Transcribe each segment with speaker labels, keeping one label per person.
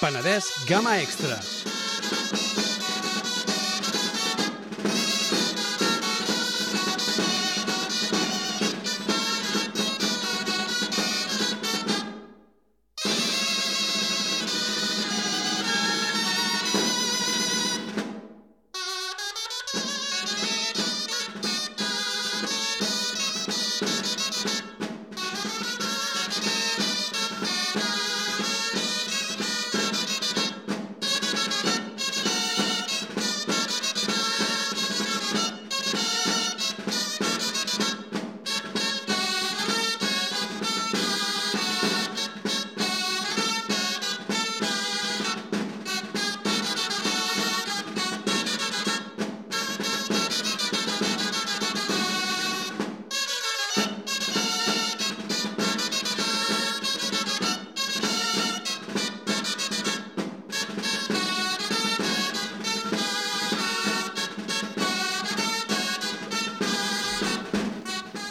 Speaker 1: Penedès Gamma Extra.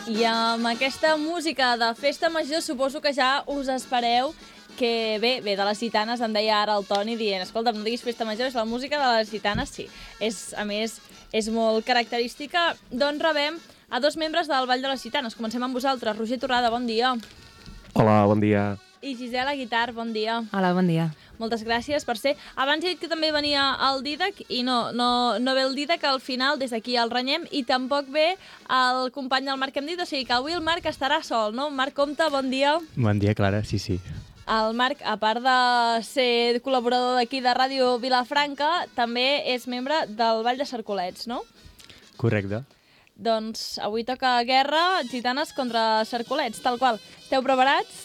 Speaker 2: I amb aquesta música de Festa Major suposo que ja us espereu que, bé, bé, de les gitanes em deia ara el Toni dient, escolta, no diguis Festa Major, és la música de les gitanes, sí. És, a més, és molt característica. Doncs rebem a dos membres del Vall de les Gitanes. Comencem amb vosaltres. Roger Torrada, bon dia.
Speaker 3: Hola, bon dia.
Speaker 2: I Gisela Guitar, bon dia.
Speaker 4: Hola, bon dia.
Speaker 2: Moltes gràcies per ser. Abans he dit que també venia el Didac i no, no, no ve el Didac al final, des d'aquí el renyem, i tampoc ve el company del Marc que hem dit, o sigui que avui el Marc estarà sol, no? Marc Comte, bon dia.
Speaker 5: Bon dia, Clara, sí, sí.
Speaker 2: El Marc, a part de ser col·laborador d'aquí de Ràdio Vilafranca, també és membre del Vall de Cercolets, no?
Speaker 5: Correcte.
Speaker 2: Doncs avui toca guerra, gitanes contra cercolets, tal qual. Esteu preparats?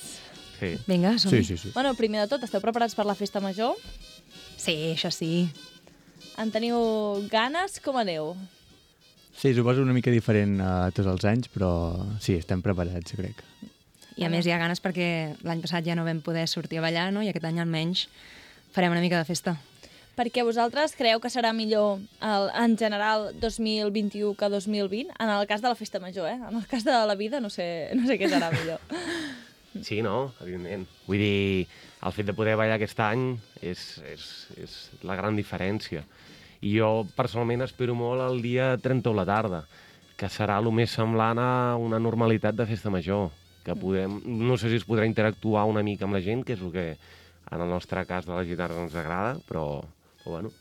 Speaker 5: Sí.
Speaker 4: Vinga, som
Speaker 5: Sí, sí, sí.
Speaker 2: Bueno, primer de tot, esteu preparats per la festa major?
Speaker 4: sí, això sí.
Speaker 2: En teniu ganes? Com aneu?
Speaker 5: Sí, suposo una mica diferent a tots els anys, però sí, estem preparats, crec.
Speaker 4: I a més hi ha ganes perquè l'any passat ja no vam poder sortir a ballar, no? I aquest any almenys farem una mica de festa.
Speaker 2: Perquè vosaltres creieu que serà millor el, en general 2021 que 2020? En el cas de la festa major, eh? En el cas de la vida no sé, no sé què serà millor.
Speaker 6: Sí, no, evidentment. Vull dir, el fet de poder ballar aquest any és, és, és la gran diferència. I jo, personalment, espero molt el dia 30 o la tarda, que serà el més semblant a una normalitat de festa major, que
Speaker 3: Mm.
Speaker 6: podem, no sé si es podrà interactuar una mica amb la gent, que és el que en el nostre cas de la guitarra ens agrada, però, però bueno,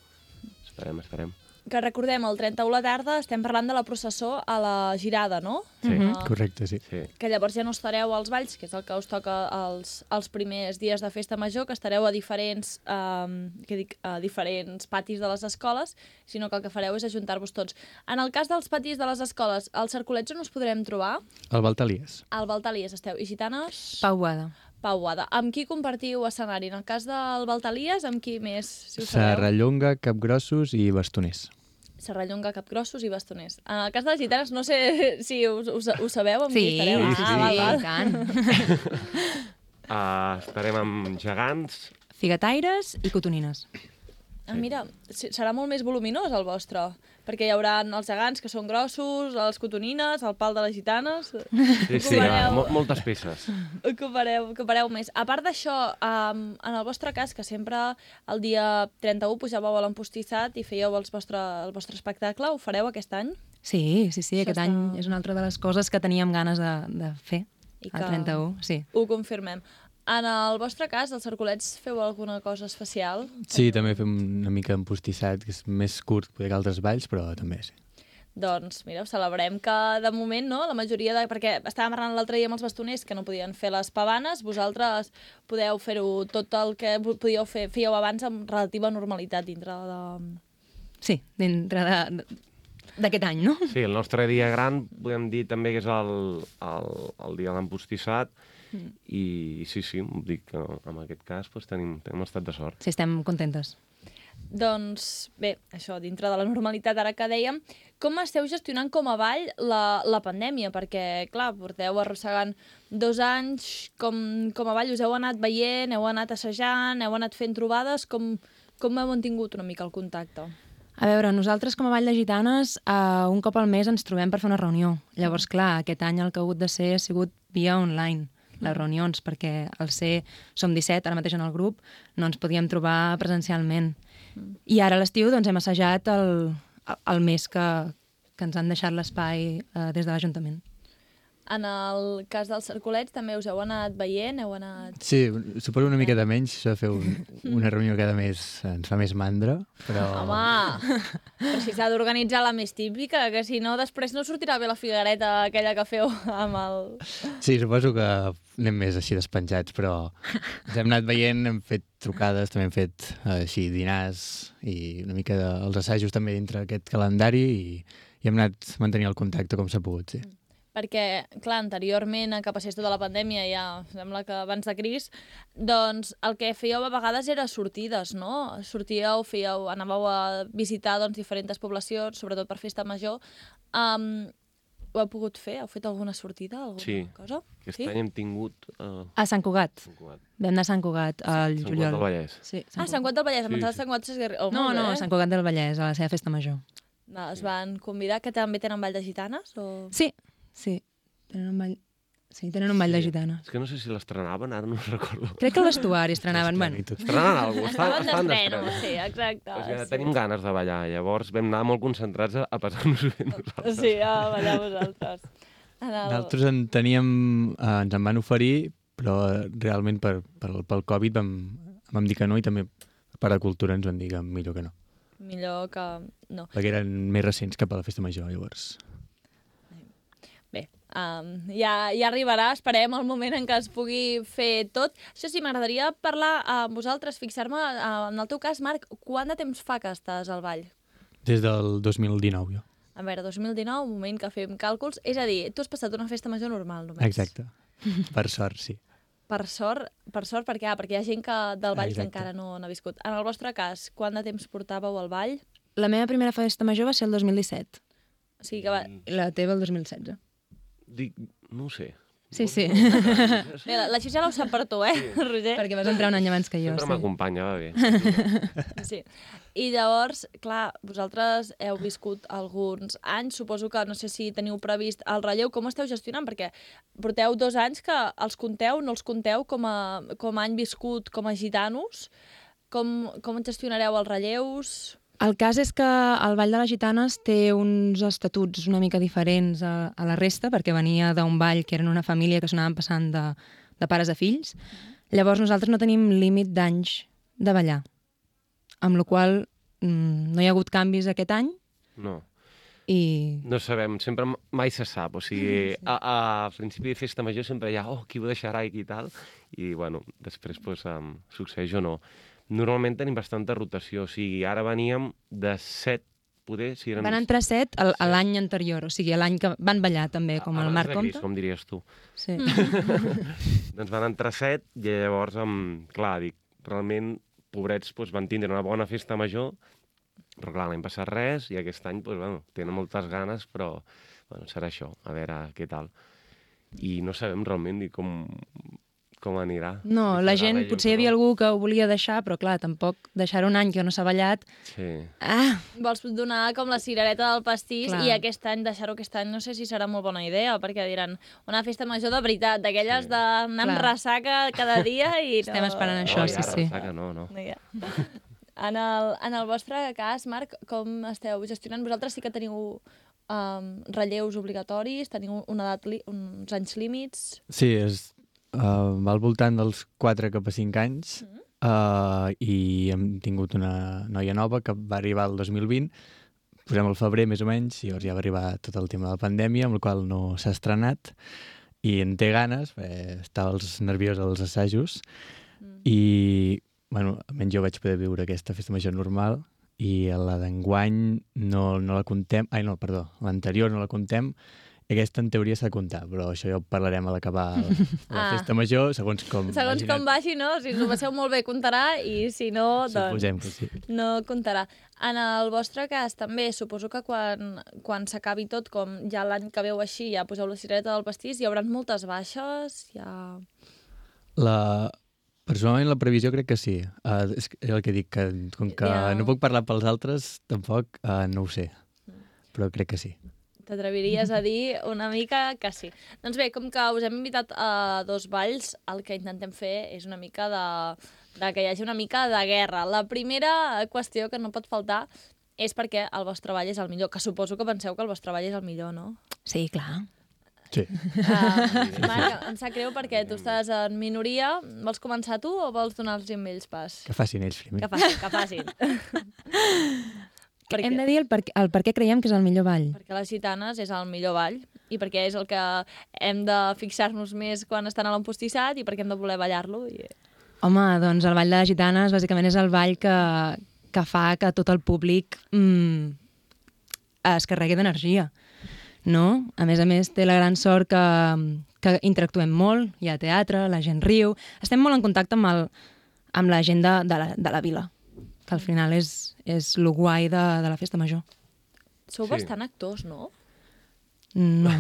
Speaker 6: esperem, esperem.
Speaker 2: que recordem, el 31 a la tarda estem parlant de la processó a la girada, no?
Speaker 5: Sí,
Speaker 6: Ah.
Speaker 2: Mhm.
Speaker 5: correcte, sí.
Speaker 6: Sí.
Speaker 2: Que llavors ja no estareu als balls, que és el que us toca els, els primers dies de festa major, que estareu a diferents, um, que dic, a diferents patis de les escoles, sinó que el que fareu és ajuntar-vos tots. En el cas dels patis de les escoles, als cercolets on us podrem trobar?
Speaker 5: El Baltalies.
Speaker 2: Al Baltalies esteu. I gitanes?
Speaker 4: Pauada.
Speaker 2: Pauada. Amb qui compartiu escenari? En el cas del Baltalies, amb qui més? Si ho sabeu?
Speaker 5: Serrallonga, Capgrossos i Bastoners.
Speaker 2: Serrallonga, Capgrossos i Bastoners. En el cas de les gitanes, no sé si us, us, ho sabeu, amb qui
Speaker 4: Sí,
Speaker 2: estareu.
Speaker 4: sí,
Speaker 2: ah, val, val.
Speaker 4: i tant.
Speaker 6: Uh, estarem amb gegants,
Speaker 4: Figataires i cotonines.
Speaker 2: Ah, mira, se- serà molt més voluminós el vostre, perquè hi haurà els gegants, que són grossos, els cotonines, el pal de les gitanes...
Speaker 6: sí, sí,
Speaker 2: Ocupareu-
Speaker 6: mo moltes peces.
Speaker 2: Ocupareu, ocupareu més. A part d'això, um, en el vostre cas, que sempre el dia 31 pujàveu a l'empostissat i fèieu els vostre, el vostre espectacle, ho fareu aquest any?
Speaker 4: Sí, sí, sí,
Speaker 2: Això
Speaker 4: aquest
Speaker 2: està-
Speaker 4: any és una altra de les coses que teníem ganes de, de fer.
Speaker 2: I
Speaker 4: I
Speaker 2: que-
Speaker 4: El 31, sí.
Speaker 2: Ho confirmem. En el vostre cas, els cercolets, feu alguna cosa especial?
Speaker 5: Sí, també fem una mica empostissat, que és més curt poder que altres balls, però també sí.
Speaker 2: Doncs, mira, celebrem que de moment, no?, la majoria de... Perquè estàvem parlant l'altre dia amb els bastoners que no podien fer les pavanes, vosaltres podeu fer-ho tot el que vo- podíeu fer, fèieu abans amb relativa normalitat dintre de...
Speaker 4: Sí, dintre de- de- d'aquest any, no?
Speaker 6: Sí, el nostre dia gran podem dir també que és el, el, el dia de l'empostissat mm. i sí, sí, dic que en aquest cas doncs, tenim, tenim estat de sort.
Speaker 4: Sí, estem contentes.
Speaker 2: Doncs, bé, això, dintre de la normalitat, ara que dèiem, com esteu gestionant com a ball la, la pandèmia? Perquè, clar, porteu arrossegant dos anys, com, com a ball us heu anat veient, heu anat assajant, heu anat fent trobades, com, com heu mantingut una mica el contacte?
Speaker 4: A veure, nosaltres com a Vall de Gitanes eh, un cop al mes ens trobem per fer una reunió. Llavors, clar, aquest any el que ha hagut de ser ha sigut via online. les reunions, perquè al ser, som 17 ara mateix en el grup, no ens podíem trobar presencialment. I ara a l'estiu doncs, hem assajat el, el mes que, que ens han deixat l'espai eh, des de l'Ajuntament.
Speaker 2: En el cas dels cercolets també us heu anat veient, heu anat...
Speaker 5: Sí, suposo una mica de menys, això de fer un, una reunió cada mes ens fa més mandra, però...
Speaker 2: Home, però si s'ha d'organitzar la més típica, que si no després no sortirà bé la figareta aquella que feu amb el...
Speaker 5: Sí, suposo que anem més així despenjats, però ens hem anat veient, hem fet trucades, també hem fet eh, així dinars i una mica dels assajos també dintre aquest calendari i, i hem anat mantenint el contacte com s'ha pogut, sí.
Speaker 2: Perquè, clar, anteriorment, a que passés tota la pandèmia, ja em sembla que abans de Cris, doncs el que fèieu a vegades era sortides, no? Sortíeu, fèieu, anàveu a visitar doncs, diferents poblacions, sobretot per festa major. Um, ho heu pogut fer? Heu fet alguna sortida, alguna
Speaker 6: Sí.
Speaker 2: cosa?
Speaker 6: Aquest any hem tingut... Uh,
Speaker 4: A Sant Cugat.
Speaker 6: Sant Cugat
Speaker 4: Vam anar a Sant Cugat al
Speaker 6: Sant Cugat
Speaker 4: juliol.
Speaker 6: del Vallès.
Speaker 4: Sí,
Speaker 2: Ah, Sant Cugat del Vallès, em
Speaker 6: Sí,
Speaker 2: pensava
Speaker 6: sí.
Speaker 2: Sant Cugat Sesgarri. Oh,
Speaker 4: No,
Speaker 2: molt bé.
Speaker 4: no, a Sant Cugat del Vallès, a la seva festa major.
Speaker 2: No, es van convidar, que també tenen ball de gitanes? O...
Speaker 4: Sí, sí. Tenen un ball, sí, tenen un ball de
Speaker 6: Sí.
Speaker 4: gitanes.
Speaker 6: És que no sé si l'estrenaven, ara no recordo.
Speaker 4: Crec que a l'estuari estrenaven. Bueno,
Speaker 5: I tot.
Speaker 6: Estrenaven alguna cosa,
Speaker 2: Estaven
Speaker 6: estaven, estaven
Speaker 2: d'estreno,
Speaker 6: Ah, d'estrena.
Speaker 2: sí, exacte.
Speaker 6: O sigui,
Speaker 2: Ah, sí.
Speaker 6: tenim ganes de ballar, llavors vam anar molt concentrats a, a passar-nos bé nosaltres.
Speaker 2: Sí, a ballar vosaltres. En el...
Speaker 5: Nosaltres en teníem, eh, ens en van oferir, però eh, realment per, per, pel Covid vam, vam dir que no i també per a cultura ens van dir que millor que no,
Speaker 2: Millor que... No.
Speaker 5: perquè eren més recents cap a la festa major, llavors.
Speaker 2: Bé, um, ja, ja arribarà, esperem el moment en què es pugui fer tot. Això sí, m'agradaria parlar amb vosaltres, fixar-me, eh, en el teu cas, Marc, quant de temps fa que estàs al ball?
Speaker 5: Des del 2019, jo.
Speaker 2: A veure, 2019, un moment que fem càlculs, és a dir, tu has passat una festa major normal només.
Speaker 5: Exacte. Per sort, sí.
Speaker 2: Per sort, per sort perquè, ah, perquè hi ha gent que del ball que
Speaker 5: Exacte.
Speaker 2: encara no n'ha viscut. En el vostre cas, quant de temps portàveu al ball?
Speaker 4: la meva primera festa major va ser el 2017.
Speaker 2: O sigui que va...
Speaker 4: i La teva el 2016.
Speaker 6: Dic, no ho sé.
Speaker 4: Sí, sí.
Speaker 2: Bé, la, la Xixela ho sap per tu, eh, sí. Roger?
Speaker 4: Perquè vas entrar un any abans que jo.
Speaker 6: Sempre
Speaker 4: Sí.
Speaker 6: m'acompanya, va bé.
Speaker 2: Sí. I llavors, clar, vosaltres heu viscut alguns anys, suposo que no sé si teniu previst el relleu, com ho esteu gestionant? Perquè porteu dos anys que els conteu, no els conteu com a, com a any viscut, com a gitanos, com, com gestionareu els relleus?
Speaker 4: El cas és que el Ball de les Gitanes té uns estatuts una mica diferents a, a la resta, perquè venia d'un ball que eren una família que s'anaven passant de, de pares a fills. Llavors nosaltres no tenim límit d'anys de ballar, amb la qual cosa no hi ha hagut canvis aquest any
Speaker 6: No.
Speaker 4: i
Speaker 6: No sabem, sempre m- mai se sap. O
Speaker 4: Mm,
Speaker 6: sigui, a, a principi de festa major sempre hi ha oh, qui ho deixarà i qui tal, i bueno, després pues, um, succeeix o no. Normalment tenim bastanta rotació, o sigui, ara veníem de set, poder, si eren...
Speaker 4: van entrar set al- a l'any anterior, o sigui, a l'any que van ballar també, com el
Speaker 6: abans
Speaker 4: Marc
Speaker 6: de Crist,
Speaker 4: Comte.
Speaker 6: Com diries tu.
Speaker 4: Sí.
Speaker 6: doncs van entrar set i llavors, um, clar, dic, realment, pobrets doncs, van tindre una bona festa major, però clar, l'any passat res i aquest any doncs, bueno, tenen moltes ganes, però bueno, serà això, a veure què tal. I no sabem realment dir com, com anirà.
Speaker 4: No,
Speaker 6: Si
Speaker 4: la
Speaker 6: serà
Speaker 4: gent,
Speaker 6: bé o
Speaker 4: potser hi havia
Speaker 6: no.
Speaker 4: algú que ho volia deixar, però clar, tampoc deixar un any que no s'ha ballat...
Speaker 6: Sí.
Speaker 4: Ah,
Speaker 2: Vols donar com la cirereta del pastís
Speaker 4: Clar.
Speaker 2: i aquest any deixar-ho aquest any no sé si serà molt bona idea, perquè diran una festa major de veritat, d'aquelles sí. d'anar amb
Speaker 4: Clar.
Speaker 2: ressaca cada dia i...
Speaker 4: Estem esperant això,
Speaker 6: no,
Speaker 4: sí,
Speaker 6: ja,
Speaker 4: sí.
Speaker 6: ressaca No, no.
Speaker 2: No hi ha. En el, en el vostre cas, Marc, com esteu gestionant? Vosaltres sí que teniu um, relleus obligatoris, teniu una edat li, uns anys límits...
Speaker 5: Sí, és uh, al voltant dels 4 cap a 5 anys uh, i hem tingut una noia nova que va arribar el 2020, posem el febrer més o menys, i llavors ja va arribar tot el tema de la pandèmia, amb el qual no s'ha estrenat i en té ganes, perquè estava els nerviós als assajos
Speaker 2: Mm.
Speaker 5: i, bueno, almenys jo vaig poder viure aquesta festa major normal i a la d'enguany no, no la contem, ai no, perdó, l'anterior no la contem, i aquesta en teoria s'ha de comptar, però això ja ho parlarem a l'acabar la
Speaker 2: Ah.
Speaker 5: festa major, segons com...
Speaker 2: Segons com vagi, no? Si us ho passeu molt bé, comptarà, i si no, doncs
Speaker 5: Suposem que sí.
Speaker 2: no comptarà. En el vostre cas, també, suposo que quan, quan s'acabi tot, com ja l'any que veu així, ja poseu la cirereta del pastís, hi haurà moltes baixes, ja...
Speaker 5: La... Personalment la previsió crec que sí. Uh, és que- és el que dic, que com que
Speaker 2: Ja.
Speaker 5: ah, no puc parlar pels altres, tampoc uh, no ho sé. Però crec que sí.
Speaker 2: T'atreviries a dir una mica que sí. Doncs bé, com que us hem invitat a dos balls, el que intentem fer és una mica de, de que hi hagi una mica de guerra. La primera qüestió que no pot faltar és perquè el vostre ball és el millor, que suposo que penseu que el vostre ball és el millor, no?
Speaker 4: Sí, clar.
Speaker 5: Sí.
Speaker 2: Uh, Marc, em sap greu perquè tu estàs en minoria. Vols començar tu o vols donar-los amb ells pas?
Speaker 5: Que facin ells primer.
Speaker 2: Que facin, que facin.
Speaker 4: Perquè... Hem de dir el per, el per què creiem que és el millor ball.
Speaker 2: Perquè les gitanes és el millor ball i perquè és el que hem de fixar-nos més quan estan a l'empostissat i perquè hem de voler ballar-lo. I...
Speaker 4: Home, doncs el ball de les gitanes bàsicament és el ball que, que fa que tot el públic mm, es carregui d'energia, no? A més a més, té la gran sort que, que interactuem molt, hi ha teatre, la gent riu, estem molt en contacte amb, el, amb la gent de, de, la, de la vila, que al final és, és lo guai de, de la festa major.
Speaker 2: Sou
Speaker 6: Sí.
Speaker 2: sí. bastant actors, no?
Speaker 4: No.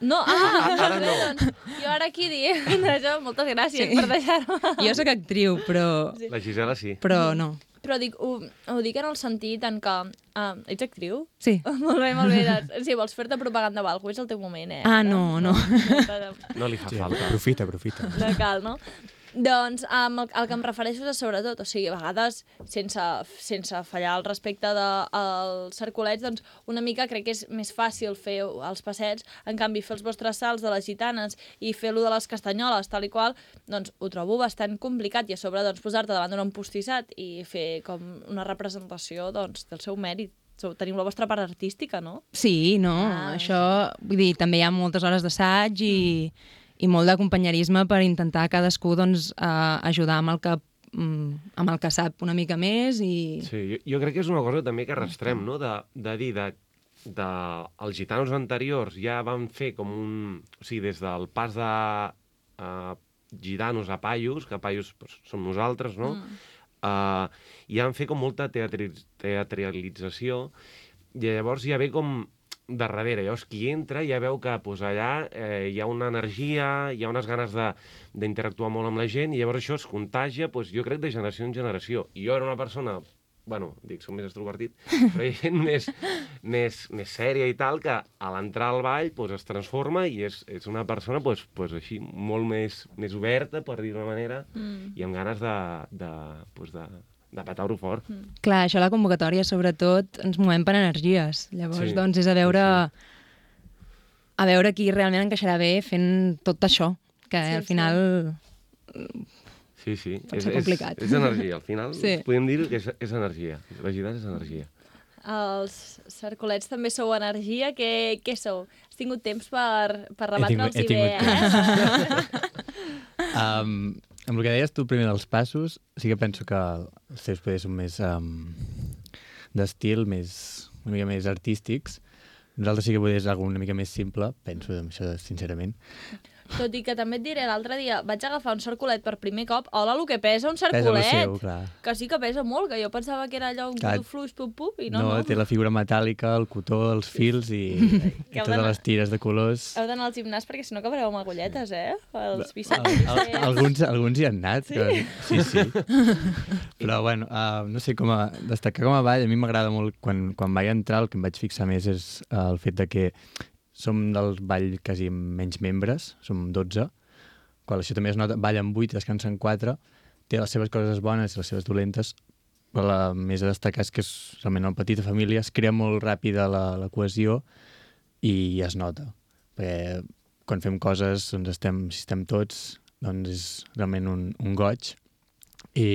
Speaker 2: No, ah,
Speaker 6: Ah, ara
Speaker 2: bé,
Speaker 6: no.
Speaker 2: Doncs, jo ara aquí dient això, moltes gràcies sí. per deixar-me.
Speaker 4: Jo sóc actriu, però,
Speaker 2: Sí.
Speaker 6: La Gisela sí.
Speaker 4: però no.
Speaker 2: Però dic, ho, ho dic en el sentit en què... Uh, ets actriu?
Speaker 4: Sí.
Speaker 2: molt bé, molt bé. Doncs, si vols fer-te propaganda o alguna és el teu moment, eh?
Speaker 4: Ah, no, no.
Speaker 6: No li fa
Speaker 5: Sí,
Speaker 6: falta.
Speaker 5: aprofita, aprofita.
Speaker 2: No cal, no? Doncs amb el, el que em refereixo és a sobretot, o sigui, a vegades, sense, sense fallar al respecte dels de, als cercolets, doncs una mica crec que és més fàcil fer els passets, en canvi fer els vostres salts de les gitanes i fer-lo de les castanyoles, tal i qual, doncs ho trobo bastant complicat i a sobre doncs, posar-te davant d'un empostissat i fer com una representació doncs, del seu mèrit. Sou- Teniu la vostra part artística, no?
Speaker 4: Sí, no,
Speaker 2: Ah.
Speaker 4: ah, això... Vull dir, també hi ha moltes hores d'assaig i, i molt d'acompanyarisme per intentar cadascú doncs, eh, ajudar amb el que mm, amb el que sap una mica més i...
Speaker 6: Sí, jo, jo crec que és una cosa també que arrastrem, no? De, de dir, de, de, els gitanos anteriors ja van fer com un... O sigui, des del pas de uh, gitanos a paios, que paios pues, som nosaltres, no? Mm. Uh, ja van fer com molta teatri, teatralització i llavors ja ve com de darrere. Llavors, qui entra ja veu que pues, allà eh, hi ha una energia, hi ha unes ganes de- d'interactuar molt amb la gent, i llavors això es contagia, pues, jo crec, de generació en generació. I jo era una persona bueno, dic, som més extrovertit, però hi ha gent més, més, més sèria i tal, que a l'entrar al ball pues, es transforma i és, és una persona pues, pues, així molt més, més oberta, per dir-ho d'una manera, mm. i amb ganes de, de, pues, de, de petar-ho fort. Mm.
Speaker 4: Clar, això a la convocatòria, sobretot, ens movem per energies. Llavors,
Speaker 6: Sí,
Speaker 4: sí, doncs, és a veure... Sí, sí. A veure qui realment encaixarà bé fent tot això, que
Speaker 2: Sí,
Speaker 4: sí, al
Speaker 2: sí.
Speaker 4: final...
Speaker 6: Sí, sí.
Speaker 4: Pot ser complicat.
Speaker 6: És, és energia, al final sí.
Speaker 4: Sí.
Speaker 6: podem dir que és, és energia. La gitana és energia.
Speaker 2: Els cercolets també sou energia. Què, què sou? Has tingut temps per, per
Speaker 5: tingut-
Speaker 2: rebatre'ls
Speaker 5: he
Speaker 2: i bé,
Speaker 5: tingut
Speaker 2: eh?
Speaker 5: Um, amb el que deies tu primer dels passos, sí que penso que els teus poders són més um, d'estil, més, una mica més artístics. Nosaltres sí que poders algun una mica més simple, penso amb això sincerament.
Speaker 2: Tot i que també et diré, l'altre dia vaig agafar un cercolet per primer cop. Hola, el que pesa un
Speaker 5: Pesa el
Speaker 2: cercolet!
Speaker 5: seu, clar.
Speaker 2: que sí que pesa molt, que jo pensava que era allò un
Speaker 5: Clar.
Speaker 2: puto fluix, pup, pup, i
Speaker 5: No,
Speaker 2: no, no.
Speaker 5: té la figura metàl·lica, el cotó, els fils i, i
Speaker 2: heu
Speaker 5: totes
Speaker 2: d'anar-
Speaker 5: les tires de colors.
Speaker 2: Heu d'anar al gimnàs perquè si no acabareu amb agulletes, eh? Els
Speaker 5: Al,
Speaker 2: biceps. eh?
Speaker 5: al, alguns, alguns hi han anat. Que, sí, sí. Però, bueno, uh, no sé, com a, destacar com a ball, a mi m'agrada molt, quan, quan vaig entrar, el que em vaig fixar més és uh, el fet de que som del ball quasi amb menys membres, som 12, quan això també es nota, ballen 8, descansen 4, té les seves coses bones i les seves dolentes, però la més a destacar és que és realment una petita família, es crea molt ràpida la, la cohesió i es nota, perquè quan fem coses, doncs estem, si estem tots, doncs és realment un, un goig i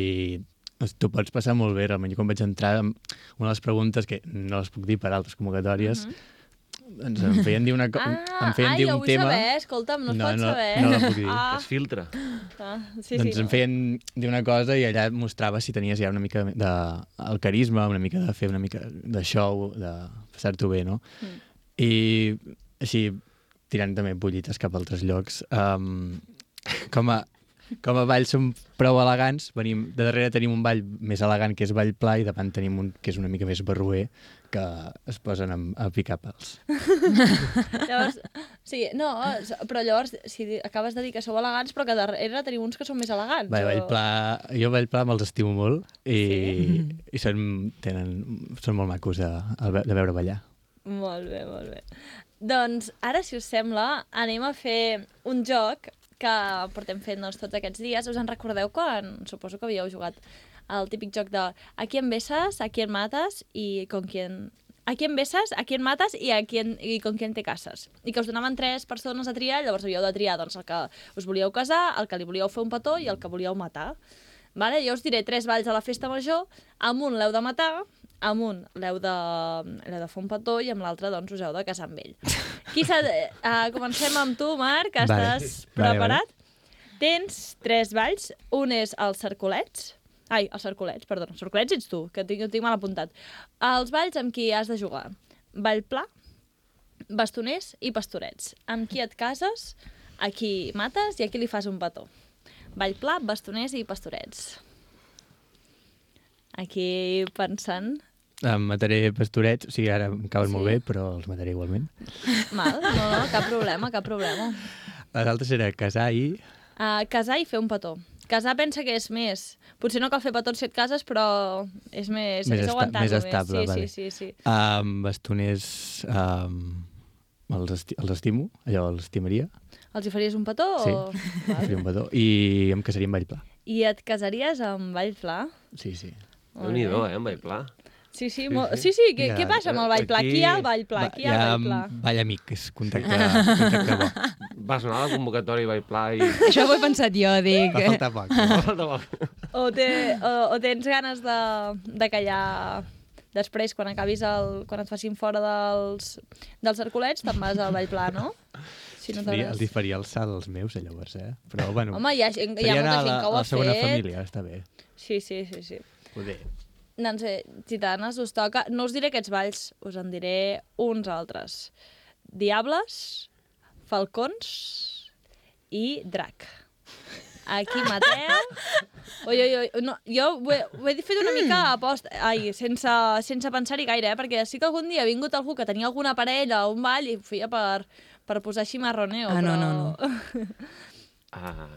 Speaker 5: es- t'ho pots passar molt bé, realment. Jo quan vaig entrar, em- una de les preguntes, que no les puc dir per altres convocatòries, doncs em feien dir, una, co-
Speaker 2: Mm-hmm. Ah,
Speaker 5: em feien
Speaker 2: ai,
Speaker 5: dir
Speaker 2: ho
Speaker 5: un
Speaker 2: vull
Speaker 5: tema...
Speaker 2: saber, escolta'm, no es
Speaker 5: No,
Speaker 2: pot
Speaker 5: no,
Speaker 2: saber.
Speaker 5: no la puc dir.
Speaker 2: Ah,
Speaker 6: Es filtra.
Speaker 2: ah, sí,
Speaker 5: Sí, doncs
Speaker 2: sí.
Speaker 5: em feien dir una cosa i allà mostrava si tenies ja una mica de el carisma, una mica de fer una mica de show, de passar-t'ho bé, no? Mm. I així, tirant també bullites cap a altres llocs, um, com, a, com a ball som prou elegants, venim, de darrere tenim un ball més elegant que és ball pla i davant tenim un que és una mica més barruer que es posen a, a picar pels.
Speaker 2: Llavors, sí, no, eh, però llavors, si di- acabes de dir que sou elegants, però que darrere teniu uns que són més elegants.
Speaker 5: Bé,
Speaker 2: o-
Speaker 5: Vall Pla, jo Vall Pla me'ls estimo molt i, sí?
Speaker 4: Sí?
Speaker 5: i són, tenen, són molt macos de, de veure ballar.
Speaker 2: Molt bé, molt bé. Doncs ara, si us sembla, anem a fer un joc que portem fent doncs, tots aquests dies. Us en recordeu quan suposo que havíeu jugat el típic joc de a qui em beses, a qui em mates i con quién... A qui em beses, a qui em mates i, a qui en, i con qui te cases. I que us donaven tres persones a triar, llavors havíeu de triar doncs, el que us volíeu casar, el que li volíeu fer un petó i el que volíeu matar. Vale? Jo us diré tres balls a la festa major, amb un l'heu de matar, amb un l'heu de, l'heu de fer un petó i amb l'altre doncs, us heu de casar amb ell. Qui s'ha de, uh, comencem amb tu, Marc, que
Speaker 5: Vale.
Speaker 2: estàs
Speaker 5: Vale, vale.
Speaker 2: preparat? Tens tres balls, un és els cercolets, ai, els cercolets, perdona, els cercolets ets tu, que tinc, ho tinc mal apuntat. Els balls amb qui has de jugar? Ball pla, bastoners i pastorets. Amb qui et cases, a qui mates i a qui li fas un petó. Ball pla, bastoners i pastorets. Aquí pensant...
Speaker 5: Em mataré pastorets, o sigui, ara em cauen
Speaker 2: Sí.
Speaker 5: molt bé, però els mataré igualment.
Speaker 2: Mal, no, no, cap problema, cap problema.
Speaker 5: L'altre serà casar i...
Speaker 2: Uh, casar i fer un petó. Casar pensa que és més. Potser no cal fer petons si et cases, però és més...
Speaker 5: Més
Speaker 2: és
Speaker 5: esta-
Speaker 2: aguantar-lo
Speaker 5: més estable,
Speaker 2: sí,
Speaker 5: vale.
Speaker 2: sí, sí, sí.
Speaker 5: Amb bastoners um, els, esti els estimo, allò, els estimaria.
Speaker 2: Els hi faries un petó o...
Speaker 5: Sí, faria un petó. I em casaria amb Vallpla.
Speaker 2: I et casaries amb Vall Pla?
Speaker 5: Sí, sí.
Speaker 2: Molt
Speaker 6: Déu-n'hi-do, eh, amb Pla.
Speaker 2: Sí, sí, mo... sí, sí, què,
Speaker 5: Ja,
Speaker 2: què passa amb el Vall Pla?
Speaker 6: aquí-
Speaker 2: Qui hi ha al Vall Pla?
Speaker 5: Va-
Speaker 2: Qui hi ha al Vall
Speaker 5: mm,
Speaker 2: Pla?
Speaker 5: Ball amic, és contacte, contacte bo.
Speaker 6: Va sonar la convocatòria i Pla i...
Speaker 4: Això ho he pensat jo, dic.
Speaker 5: Va faltar poc.
Speaker 2: O, té, o, o tens ganes de, de callar després, quan acabis el, quan et facin fora dels, dels cercolets, te'n vas al Vall Pla, no? Si no
Speaker 5: Faria-
Speaker 2: t'agrada.
Speaker 5: Els hi faria alçar els meus, eh, llavors, eh? Però, bueno,
Speaker 2: Home, hi ha, gent- hi ha
Speaker 5: podria
Speaker 2: molta
Speaker 5: anar a la,
Speaker 2: gent que ho ha
Speaker 5: a la segona
Speaker 2: fet.
Speaker 5: família, està bé.
Speaker 2: Sí, sí, sí, sí.
Speaker 5: Poder.
Speaker 2: Doncs eh, titanes, us toca... No us diré aquests balls, us en diré uns altres. Diables, falcons i drac. Aquí mateu. Oi, oi, oi. No, jo ho he, ho he fet una mica a post... Ai, sense, sense pensar-hi gaire, eh? Perquè sí que algun dia ha vingut algú que tenia alguna parella o un ball i ho feia per, per posar així marroneo.
Speaker 4: Ah, no,
Speaker 2: però...
Speaker 4: no,
Speaker 6: Ah,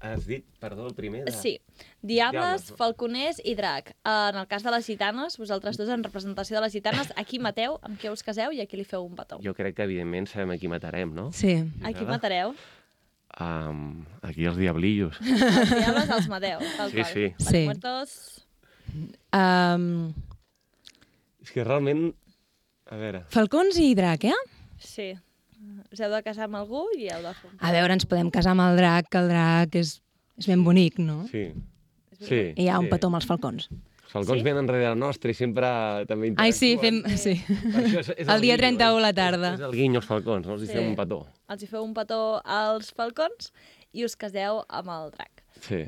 Speaker 6: has dit, perdó, el primer? De...
Speaker 2: Sí. Diables,
Speaker 6: Diables, no?
Speaker 2: falconers i drac. En el cas de les gitanes, vosaltres dos en representació de les gitanes, aquí mateu, amb qui us caseu i aquí li feu un petó.
Speaker 6: Jo crec que, evidentment, sabem a qui matarem, no?
Speaker 4: Sí.
Speaker 2: Aquí matareu,
Speaker 6: Um, aquí els diablillos.
Speaker 2: els diables els mateu. Tal
Speaker 6: Sí,
Speaker 2: qual.
Speaker 6: sí.
Speaker 2: Per
Speaker 4: Sí.
Speaker 2: Muertos...
Speaker 4: Um,
Speaker 6: És que realment... A veure...
Speaker 4: Falcons i drac, eh?
Speaker 2: Sí. Us heu de casar amb algú i heu de fer un petó.
Speaker 4: A veure, ens podem casar amb el drac, que el drac és, és ben bonic, no?
Speaker 6: Sí. Sí,
Speaker 4: I hi ha un
Speaker 6: sí.
Speaker 4: petó amb els falcons.
Speaker 6: Els falcons sí? venen darrere nostre i sempre també interactuen.
Speaker 4: Ai, sí, fem... Sí.
Speaker 6: Això és, és
Speaker 4: El dia
Speaker 6: guinyo,
Speaker 4: 31 a la
Speaker 6: és-
Speaker 4: tarda.
Speaker 6: És, és el guinyo, els falcons, no? Els sí.
Speaker 2: Sí.
Speaker 6: fem un petó.
Speaker 2: Els hi feu un petó als falcons i us caseu amb el drac.
Speaker 6: Sí.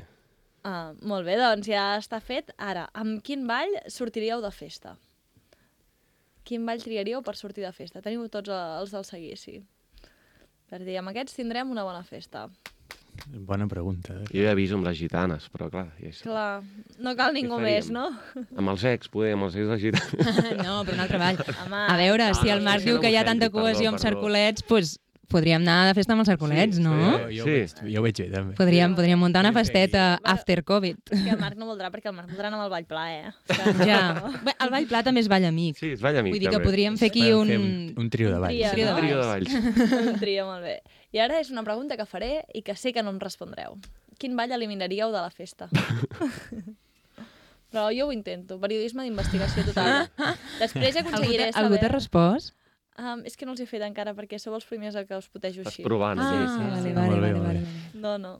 Speaker 2: Ah, molt bé, doncs ja està fet. Ara, amb quin ball sortiríeu de festa? Quin ball triaríeu per sortir de festa? Teniu tots eh, els del seguici. Per dir, amb aquests tindrem una bona festa.
Speaker 5: Bona pregunta. eh?
Speaker 6: Jo ja aviso amb les gitanes, però clar... Ja és... clar.
Speaker 2: Clar, no cal ningú
Speaker 6: faríem?
Speaker 2: més, no?
Speaker 6: Amb els ex, poder, amb els ex de gitanes.
Speaker 4: No, però un altre ball.
Speaker 2: Home,
Speaker 4: A veure, si el
Speaker 6: no,
Speaker 4: Marc
Speaker 6: això
Speaker 4: diu
Speaker 6: Ah, no
Speaker 4: que hi ha
Speaker 6: m'ofengui,
Speaker 4: tanta
Speaker 6: perdó,
Speaker 4: cohesió amb
Speaker 6: perdó.
Speaker 4: cercolets, doncs podríem anar de festa amb els cercolets,
Speaker 6: Sí,
Speaker 4: no?
Speaker 5: Jo,
Speaker 6: Sí.
Speaker 5: jo, ho veig, jo ho veig bé, també.
Speaker 4: Podríem, podríem muntar una festeta after Covid.
Speaker 2: És que el Marc no voldrà perquè el Marc voldrà anar amb el ball pla, eh? Que-
Speaker 4: Ja. Bé, El ball pla també és ball amic.
Speaker 6: Sí, es balla a mi.
Speaker 4: Vull dir que
Speaker 6: també.
Speaker 4: podríem fer aquí
Speaker 5: Podem
Speaker 4: un...
Speaker 5: fer un trio de balls.
Speaker 2: trio,
Speaker 5: sí.
Speaker 2: no?
Speaker 6: Un trio de balls.
Speaker 2: Un trio, molt bé. I ara és una pregunta que faré i que sé que no em respondreu. Quin ball eliminaríeu de la festa? Però jo ho intento, periodisme d'investigació total. Després
Speaker 4: Algú
Speaker 2: aconseguiré
Speaker 4: t'ha-
Speaker 2: saber...
Speaker 4: Algú t'ha respost?
Speaker 2: Um, és que no els he fet encara, perquè sou els primers a que us putejo
Speaker 6: Estàs
Speaker 2: així.
Speaker 6: provant.
Speaker 4: Ah,
Speaker 6: sí, sí.
Speaker 4: vale,
Speaker 5: Ah,
Speaker 4: vale,
Speaker 5: molt bé,
Speaker 4: vale,
Speaker 5: molt
Speaker 4: vale.
Speaker 5: bé.
Speaker 2: No, no.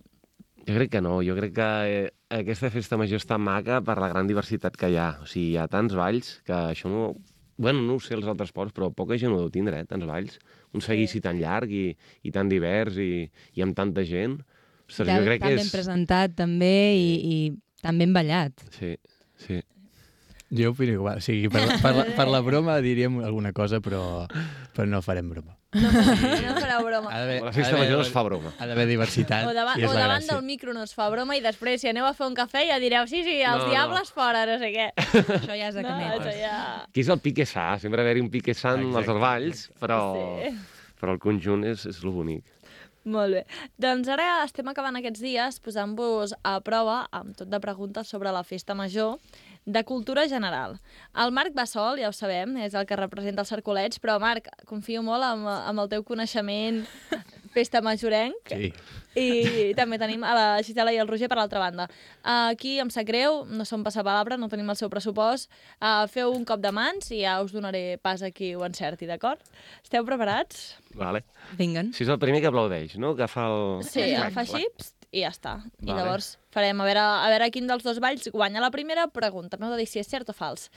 Speaker 6: Jo crec que no, jo crec que eh, aquesta festa major està maca per la gran diversitat que hi ha. O sigui, hi ha tants valls que això no... Bueno, no ho sé els altres ports, però poca gent ho deu tindre, eh, tants valls. Un seguici tan llarg i, i tan divers i, i amb tanta gent. Ostres,
Speaker 4: Tan-
Speaker 6: jo crec
Speaker 4: tan
Speaker 6: que
Speaker 4: ben
Speaker 6: és...
Speaker 4: presentat també i, i tan ben ballat.
Speaker 6: Sí, sí.
Speaker 5: Jo opino igual. O sigui, per, la- per, la, per la broma diríem alguna cosa, però, però no farem broma.
Speaker 2: No fareu broma.
Speaker 5: Ha
Speaker 6: Eh,
Speaker 5: d'haver-
Speaker 6: A la
Speaker 5: ha
Speaker 6: festa
Speaker 5: d'haver-
Speaker 6: major es fa broma.
Speaker 5: Ha d'haver diversitat.
Speaker 2: Ah. O davant,
Speaker 5: i és
Speaker 2: o
Speaker 5: la
Speaker 2: davant
Speaker 5: gràcia.
Speaker 2: del micro no es fa broma i després, si aneu a fer un cafè, ja direu sí, sí, els
Speaker 6: No, no.
Speaker 2: diables fora, no sé què.
Speaker 4: Això ja és de
Speaker 2: No, això
Speaker 4: canet.
Speaker 2: ja...
Speaker 6: Aquí és el pique sa, sempre haver-hi un pique sa en els
Speaker 5: Exacte.
Speaker 6: valls, però,
Speaker 2: Sí.
Speaker 6: però el conjunt és, és lo bonic.
Speaker 2: Molt bé. Doncs ara estem acabant aquests dies posant-vos a prova amb tot de preguntes sobre la festa major de cultura general. El Marc Bassol, ja ho sabem, és el que representa els cercolets, però Marc, confio molt amb, amb el teu coneixement festa majorenc
Speaker 5: Sí.
Speaker 2: i també tenim a la Gisela i el Roger per l'altra banda. Eh, Aquí em sap greu, no som passapalabra, no tenim el seu pressupost. Eh, Feu un cop de mans i ja us donaré pas a qui ho encerti, d'acord? Esteu preparats?
Speaker 6: Vale.
Speaker 4: Vinguen.
Speaker 6: Si és el primer que aplaudeix, no? Que fa el...
Speaker 2: Sí,
Speaker 6: Clac,
Speaker 2: el fa així
Speaker 6: clac.
Speaker 2: pst, i ja està. I
Speaker 6: Vale.
Speaker 2: llavors farem a veure, a veure quin dels dos balls guanya la primera pregunta. M'heu de dir si és cert o fals.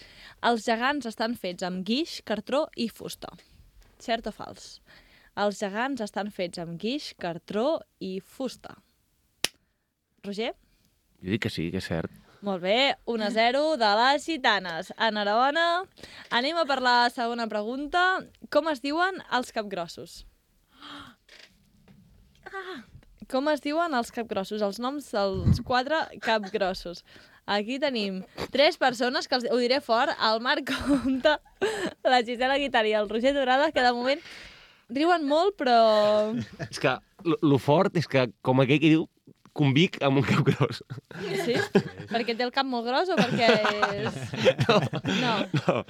Speaker 2: Els gegants estan fets amb guix, cartró i fusta. Cert o fals? Els gegants estan fets amb guix, cartró i fusta. Roger?
Speaker 6: Jo dic que sí, que és cert.
Speaker 2: Molt bé, 1 a 0 de les gitanes. Enhorabona. Anem a per la segona pregunta. Com es diuen els capgrossos? Com es diuen els capgrossos? Els noms dels quatre capgrossos. Aquí tenim tres persones que els, ho diré fort, el Marc Comte, la Gisela Guitari i el Roger Dorada, que de moment riuen molt, però...
Speaker 6: És que lo lo fort és que, com aquell que diu, convic amb un cap gros.
Speaker 2: Sí? Perquè té el cap molt gros o perquè és... No.
Speaker 6: No,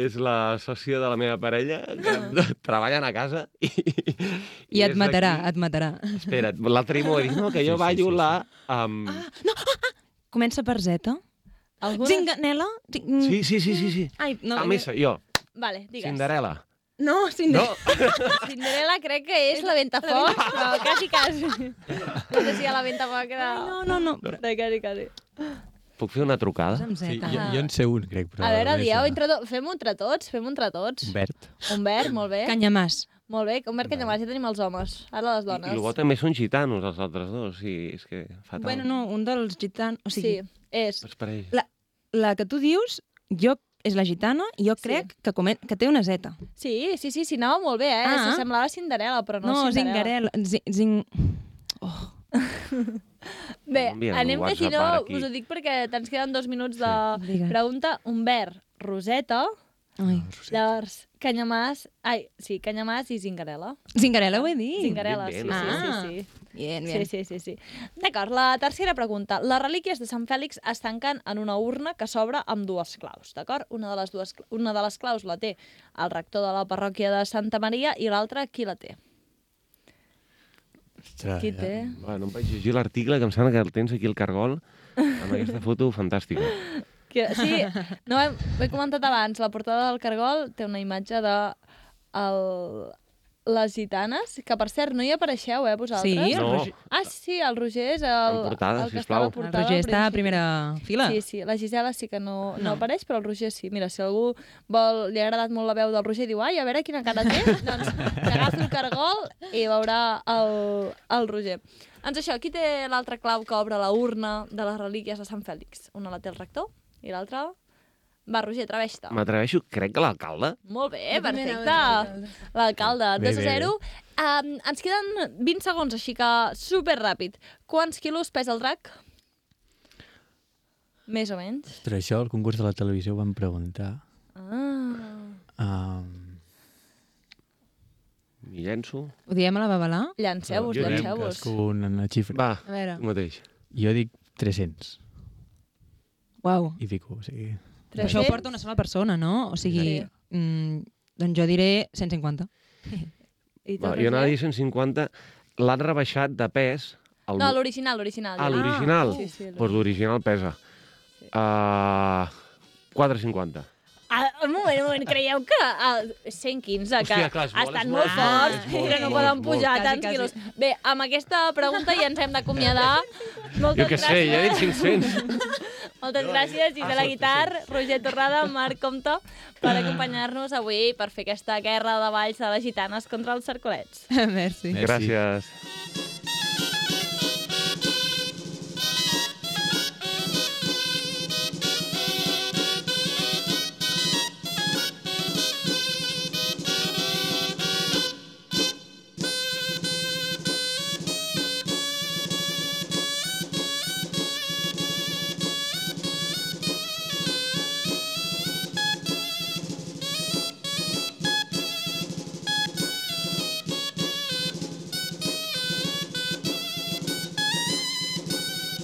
Speaker 6: és la sòcia de la meva parella que treballen a casa i...
Speaker 4: Ah. I et
Speaker 6: és
Speaker 4: matarà,
Speaker 6: d'aquí.
Speaker 4: et matarà.
Speaker 6: Espera't, l'altre dia m'ho va dir, no, que jo sí,
Speaker 5: Sí, sí,
Speaker 6: ballo
Speaker 5: sí, sí.
Speaker 6: la... Um... Ah.
Speaker 4: Comença per Z. mm.
Speaker 2: Alguna...
Speaker 4: Zinganela?
Speaker 6: Sí, sí, sí, sí, sí.
Speaker 4: Ai, no, eh,
Speaker 6: No, a missa, jo,
Speaker 2: Vale, digues.
Speaker 6: Cinderella.
Speaker 4: No,
Speaker 6: No?
Speaker 4: Cinderella.
Speaker 2: Cinderella crec que és la ventafocs, però quasi, quasi. No sé si a la ventafocs era...
Speaker 4: No, no, no. no.
Speaker 2: De quasi, quasi.
Speaker 6: Puc fer una trucada?
Speaker 4: Amb Z.
Speaker 5: sí jo,
Speaker 4: jo...
Speaker 5: jo en sé un, crec. Però
Speaker 2: A veure,
Speaker 5: la resta-
Speaker 2: dieu, entre to... fem-ho entre tots, fem-ho entre tots.
Speaker 5: Humbert.
Speaker 2: Humbert, molt bé.
Speaker 4: Eh? Canyamàs.
Speaker 2: Molt bé, Humbert, que llavors ja tenim els homes, ara les
Speaker 6: I, I el bo
Speaker 2: dones.
Speaker 6: també són gitanos, els altres dos, i és que fatal.
Speaker 4: Bueno, no, un dels gitans... O
Speaker 2: Sí,
Speaker 4: sigui, sí.
Speaker 2: és.
Speaker 6: Doncs per ell.
Speaker 4: La- la que tu dius, jo és la gitana, i jo
Speaker 2: Sí.
Speaker 4: crec sí. que, comen... que té una Z.
Speaker 2: Sí, sí, sí, sí, anava molt bé, eh?
Speaker 4: Ah.
Speaker 2: Ah. Semblava Cinderella, però no,
Speaker 4: No,
Speaker 2: Cinderella.
Speaker 4: Zingarela. Zi- Zing... oh,
Speaker 2: Bé,
Speaker 6: Envia'm un
Speaker 2: anem que si
Speaker 6: WhatsApp
Speaker 2: no,
Speaker 6: ara aquí.
Speaker 2: us ho dic perquè ens queden dos minuts de
Speaker 4: Digues.
Speaker 2: pregunta. Humbert, Roseta,
Speaker 4: Ai.
Speaker 2: llavors Canyamàs, ai, sí, Canyamàs i Zingarella.
Speaker 4: Zingarela ho he dit.
Speaker 2: Zingarella, sí,
Speaker 6: Bien,
Speaker 2: sí,
Speaker 6: bien,
Speaker 4: no?
Speaker 2: sí, sí.
Speaker 4: Bien,
Speaker 2: Sí,
Speaker 4: bien.
Speaker 2: sí, sí, sí. D'acord, la tercera pregunta. Les relíquies de Sant Fèlix es tanquen en una urna que s'obre amb dues claus, d'acord? Una, de les dues, cla- una de les claus la té el rector de la parròquia de Santa Maria i l'altra qui la té?
Speaker 5: Ostres,
Speaker 2: Qui
Speaker 5: ja.
Speaker 2: té?
Speaker 6: Bueno, em vaig llegir l'article, que em sembla que el tens aquí al cargol, amb aquesta foto fantàstica.
Speaker 2: Que, sí, no, hem- ho he comentat abans, la portada del Cargol té una imatge de el, les gitanes, que per cert no hi apareixeu, eh, vosaltres?
Speaker 4: Sí?
Speaker 6: No.
Speaker 2: Ah, sí, el Roger és el,
Speaker 6: En portada,
Speaker 2: el que
Speaker 6: sisplau.
Speaker 2: està a la
Speaker 6: El
Speaker 4: El
Speaker 2: portada.
Speaker 4: Roger
Speaker 2: al
Speaker 4: està a
Speaker 2: principi.
Speaker 4: primera fila.
Speaker 2: Sí, sí, la Gisela sí que no, no. no
Speaker 4: No.
Speaker 2: apareix, però el Roger sí. Mira, si algú vol, li ha agradat molt la veu del Roger i diu, ai, a veure quina cara té, doncs que agafi el cargol i veurà el, el Roger. Doncs això, aquí té l'altra clau que obre la urna de les relíquies de Sant Fèlix. Una la té el rector i l'altra... Va, Roger, atreveix-te.
Speaker 6: M'atreveixo, crec que l'alcalde.
Speaker 2: Molt bé, perfecte. L'alcalde,
Speaker 5: Bé,
Speaker 2: 2 a
Speaker 5: bé,
Speaker 2: 0. Um, ens queden 20 segons, així que super ràpid. Quants quilos pesa el drac? Més o menys.
Speaker 5: Però això, al concurs de la televisió, ho van preguntar.
Speaker 2: Ah.
Speaker 5: Um,
Speaker 6: M'hi llenço.
Speaker 4: Ho diem a la Babalà?
Speaker 2: Llanceu-vos,
Speaker 6: Jo crec que
Speaker 2: llanceu-vos.
Speaker 5: cadascú una xifra.
Speaker 6: Va,
Speaker 4: A veure.
Speaker 6: tu mateix.
Speaker 5: Jo dic 300
Speaker 4: Uau.
Speaker 5: i pico, o sigui...
Speaker 4: Però això ho porta una sola persona, no? O sigui,
Speaker 2: Sí.
Speaker 4: mm, doncs jo diré 150.
Speaker 2: I tu,
Speaker 6: Va,
Speaker 2: Roger?
Speaker 6: jo anava a dir 150. L'han rebaixat de pes... El...
Speaker 2: No, l'original, l'original.
Speaker 6: Ah, l'original.
Speaker 2: Sí, sí,
Speaker 6: Doncs l'original pesa. Uh, 4,50.
Speaker 2: Ah, un moment, un moment, creieu que ah, 115, que
Speaker 6: Hòstia, clar, és molt,
Speaker 2: estan
Speaker 6: és
Speaker 2: molt
Speaker 6: molt,
Speaker 2: forts,
Speaker 6: és molt,
Speaker 2: que no
Speaker 6: molt,
Speaker 2: poden
Speaker 6: molt.
Speaker 2: pujar
Speaker 4: Quasi,
Speaker 2: tants
Speaker 4: quasi.
Speaker 2: quilos. Bé, amb aquesta pregunta ja ens hem d'acomiadar. Moltes
Speaker 6: Jo què sé,
Speaker 2: gràcies.
Speaker 6: ja he dit Ah, 500.
Speaker 2: Moltes gràcies, i de la guitarra, Roger Torrada, Marc Comte, per acompanyar-nos avui per fer aquesta guerra de balls de les gitanes contra els cercolets.
Speaker 4: Eh, Merci.
Speaker 6: Gràcies.